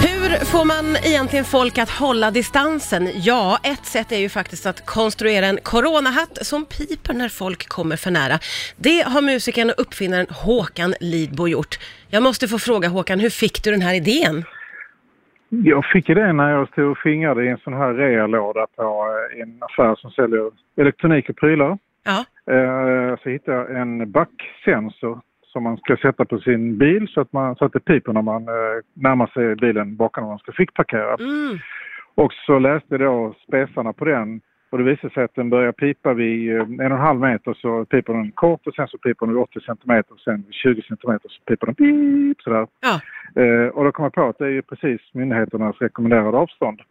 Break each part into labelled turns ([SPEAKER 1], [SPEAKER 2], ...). [SPEAKER 1] Hur får man egentligen folk att hålla distansen? Ja, ett sätt är ju faktiskt att konstruera en coronahatt som piper när folk kommer för nära. Det har musikern och uppfinnaren Håkan Lidbo gjort. Jag måste få fråga Håkan, hur fick du den här idén?
[SPEAKER 2] Jag fick det när jag stod och fingrade i en sån här realåda på eh, en affär som säljer elektronik och prylar.
[SPEAKER 1] Ja,
[SPEAKER 2] Eh, Så hittade jag en backsensor som man ska sätta på sin bil så att, man, så att det piper när man eh, närmar sig bilen bakom när man ska fickparkera.
[SPEAKER 1] mm.
[SPEAKER 2] Och så läste jag då spesarna på den och det visade sig att den börjar pipa vid eh, en och en halv meter så piper den kort och sen så piper den vid 80 centimeter och sen vid 20 centimeter så piper den pip sådär.
[SPEAKER 1] ja.
[SPEAKER 2] Eh, och då kom jag på att det är ju precis myndigheternas rekommenderade avstånd.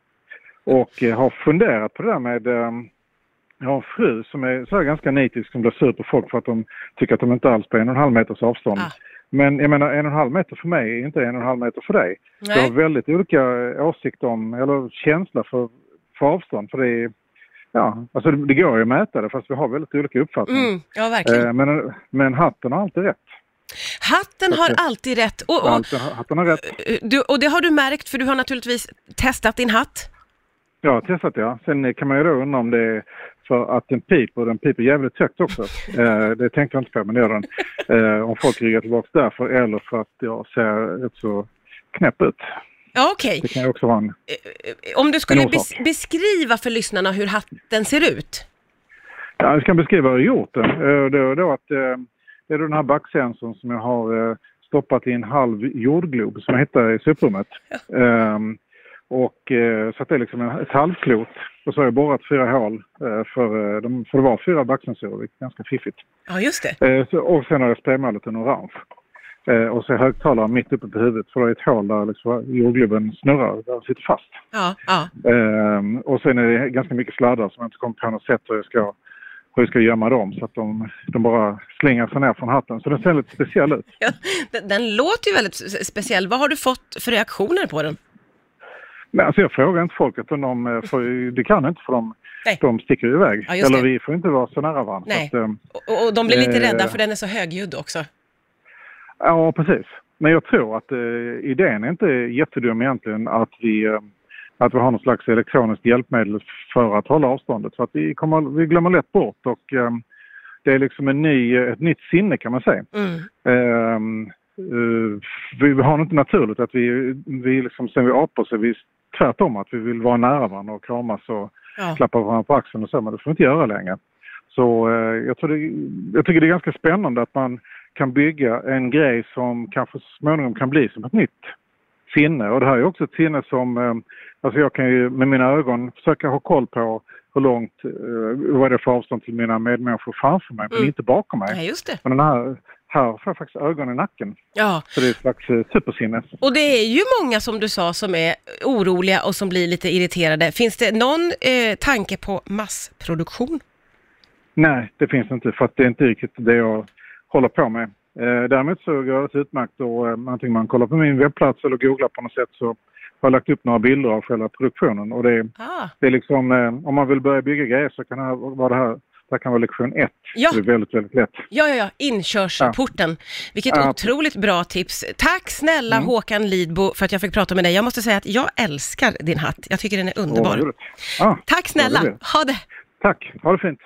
[SPEAKER 2] Och eh, har funderat på det där med... Eh, jag har en fru som är så här ganska nitisk som blir sur på folk för att de tycker att de inte alls på en och en halv meters avstånd.
[SPEAKER 1] Ah.
[SPEAKER 2] Men jag menar en och en halv meter för mig är inte en och en halv meter för dig. Jag har
[SPEAKER 1] Nej.
[SPEAKER 2] väldigt olika eh, åsikt om, eller känsla för, för avstånd. För det är, ja, alltså det, det går ju att mäta det fast vi har väldigt olika uppfattningar.
[SPEAKER 1] Mm. Ja, verkligen.
[SPEAKER 2] Eh, men, men hatten har alltid rätt.
[SPEAKER 1] Hatten har alltid rätt. Och, och,
[SPEAKER 2] Hatten, hatten har rätt.
[SPEAKER 1] du, och det har du märkt, för du har naturligtvis testat din hatt.
[SPEAKER 2] Ja, jag har testat ja. Sen eh, kan man ju då undra om det är för att den piper, och den piper jävligt högt också. Eh, det tänkte jag inte på, men det gör den. Eh, om folk ryggar tillbaka därför eller för att jag ser rätt så knäpp ut.
[SPEAKER 1] Ja, okej. Eh,
[SPEAKER 2] Det kan ju också vara en...
[SPEAKER 1] Om du skulle
[SPEAKER 2] En orsak.
[SPEAKER 1] bes- beskriva för lyssnarna hur hatten ser ut.
[SPEAKER 2] Ja, jag ska beskriva hur jag gjort den. Eh, det, är då att, eh, det är då den här backsensorn som jag har eh, stoppat i en halv jordglob som jag hittade i soprummet. Ehm, och, eh, så att det är liksom en- ett halvklot. Och så har jag borrat fyra hål eh, för, eh, de, för det var fyra backsensorer, vilket är ganska fiffigt.
[SPEAKER 1] Ja, just det.
[SPEAKER 2] Eh, så, och sen har jag spraymålat en orange. Eh, och så högtalare mitt uppe på huvudet för det är ett hål där liksom jordgubben snurrar, där den sitter fast.
[SPEAKER 1] Ja, ja.
[SPEAKER 2] Ehm, och sen är det ganska mycket sladdar som jag inte kom på något sätt hur jag ska, hur jag ska gömma dem så att de, de bara slänger sig ner från hatten. Så den ser lite speciell ut.
[SPEAKER 1] Ja, den, den låter ju väldigt s- speciell. Vad har du fått för reaktioner på den?
[SPEAKER 2] Men alltså jag frågar inte folket utan de, eh, får- det kan inte för de,
[SPEAKER 1] Nej.
[SPEAKER 2] de sticker iväg.
[SPEAKER 1] Ja, just
[SPEAKER 2] Eller
[SPEAKER 1] det.
[SPEAKER 2] vi får inte vara så nära varandra.
[SPEAKER 1] Nej.
[SPEAKER 2] Så att, ehm,
[SPEAKER 1] Och, och de blir lite
[SPEAKER 2] Eh.
[SPEAKER 1] rädda för den är så högljudd också.
[SPEAKER 2] Ja, precis. Men jag tror att eh, idén är inte jättedum egentligen att vi, eh, att vi har någon slags elektroniskt hjälpmedel för att hålla avståndet. För att vi, kommer, vi glömmer lätt bort och eh, det är liksom en ny, ett nytt sinne kan man säga.
[SPEAKER 1] Mm.
[SPEAKER 2] Eh, eh, vi har det inte naturligt att vi, vi liksom, sen vi är apor så är vi tvärtom att vi vill vara nära varandra och kramas och
[SPEAKER 1] Ja.
[SPEAKER 2] klappa varandra på axeln och så, men det får vi inte göra längre. Så eh, jag, tror det, jag tycker det är ganska spännande att man kan bygga en grej som kanske så småningom kan bli som ett nytt sinne. Och det här är också ett sinne som, eh, alltså jag kan ju med mina ögon försöka ha koll på hur långt, eh, vad är det för avstånd till mina medmänniskor framför mig, men
[SPEAKER 1] Mm.
[SPEAKER 2] inte bakom
[SPEAKER 1] ja,
[SPEAKER 2] mig.
[SPEAKER 1] just det.
[SPEAKER 2] Men den här, här får jag faktiskt ögon i nacken.
[SPEAKER 1] Ja.
[SPEAKER 2] Så det är ett slags eh, supersinne.
[SPEAKER 1] Och det är ju många som du sa som är oroliga och som blir lite irriterade. Finns det någon eh, tanke på massproduktion?
[SPEAKER 2] Nej, det finns inte för att det är inte riktigt det jag håller på med. Eh, däremot så går det alldeles utmärkt och eh, antingen man kollar på min webbplats eller googlar på något sätt så har jag lagt upp några bilder av själva produktionen och det,
[SPEAKER 1] Ah.
[SPEAKER 2] det är liksom eh, om man vill börja bygga grejer så kan det här vara det här, det här kan vara lektion ett.
[SPEAKER 1] Ja.
[SPEAKER 2] Det är väldigt, väldigt lätt.
[SPEAKER 1] Ja, ja, ja, inkörsporten. Vilket
[SPEAKER 2] Ja. Mm.
[SPEAKER 1] otroligt bra tips. Tack snälla Håkan Lidbo för att jag fick prata med dig. Jag måste säga att jag älskar din hatt. Jag tycker den är
[SPEAKER 2] Och vad
[SPEAKER 1] underbar.
[SPEAKER 2] roligt. Ja,
[SPEAKER 1] Tack
[SPEAKER 2] Ja,
[SPEAKER 1] snälla.
[SPEAKER 2] det är det.
[SPEAKER 1] Ha det.
[SPEAKER 2] tack, ha det fint.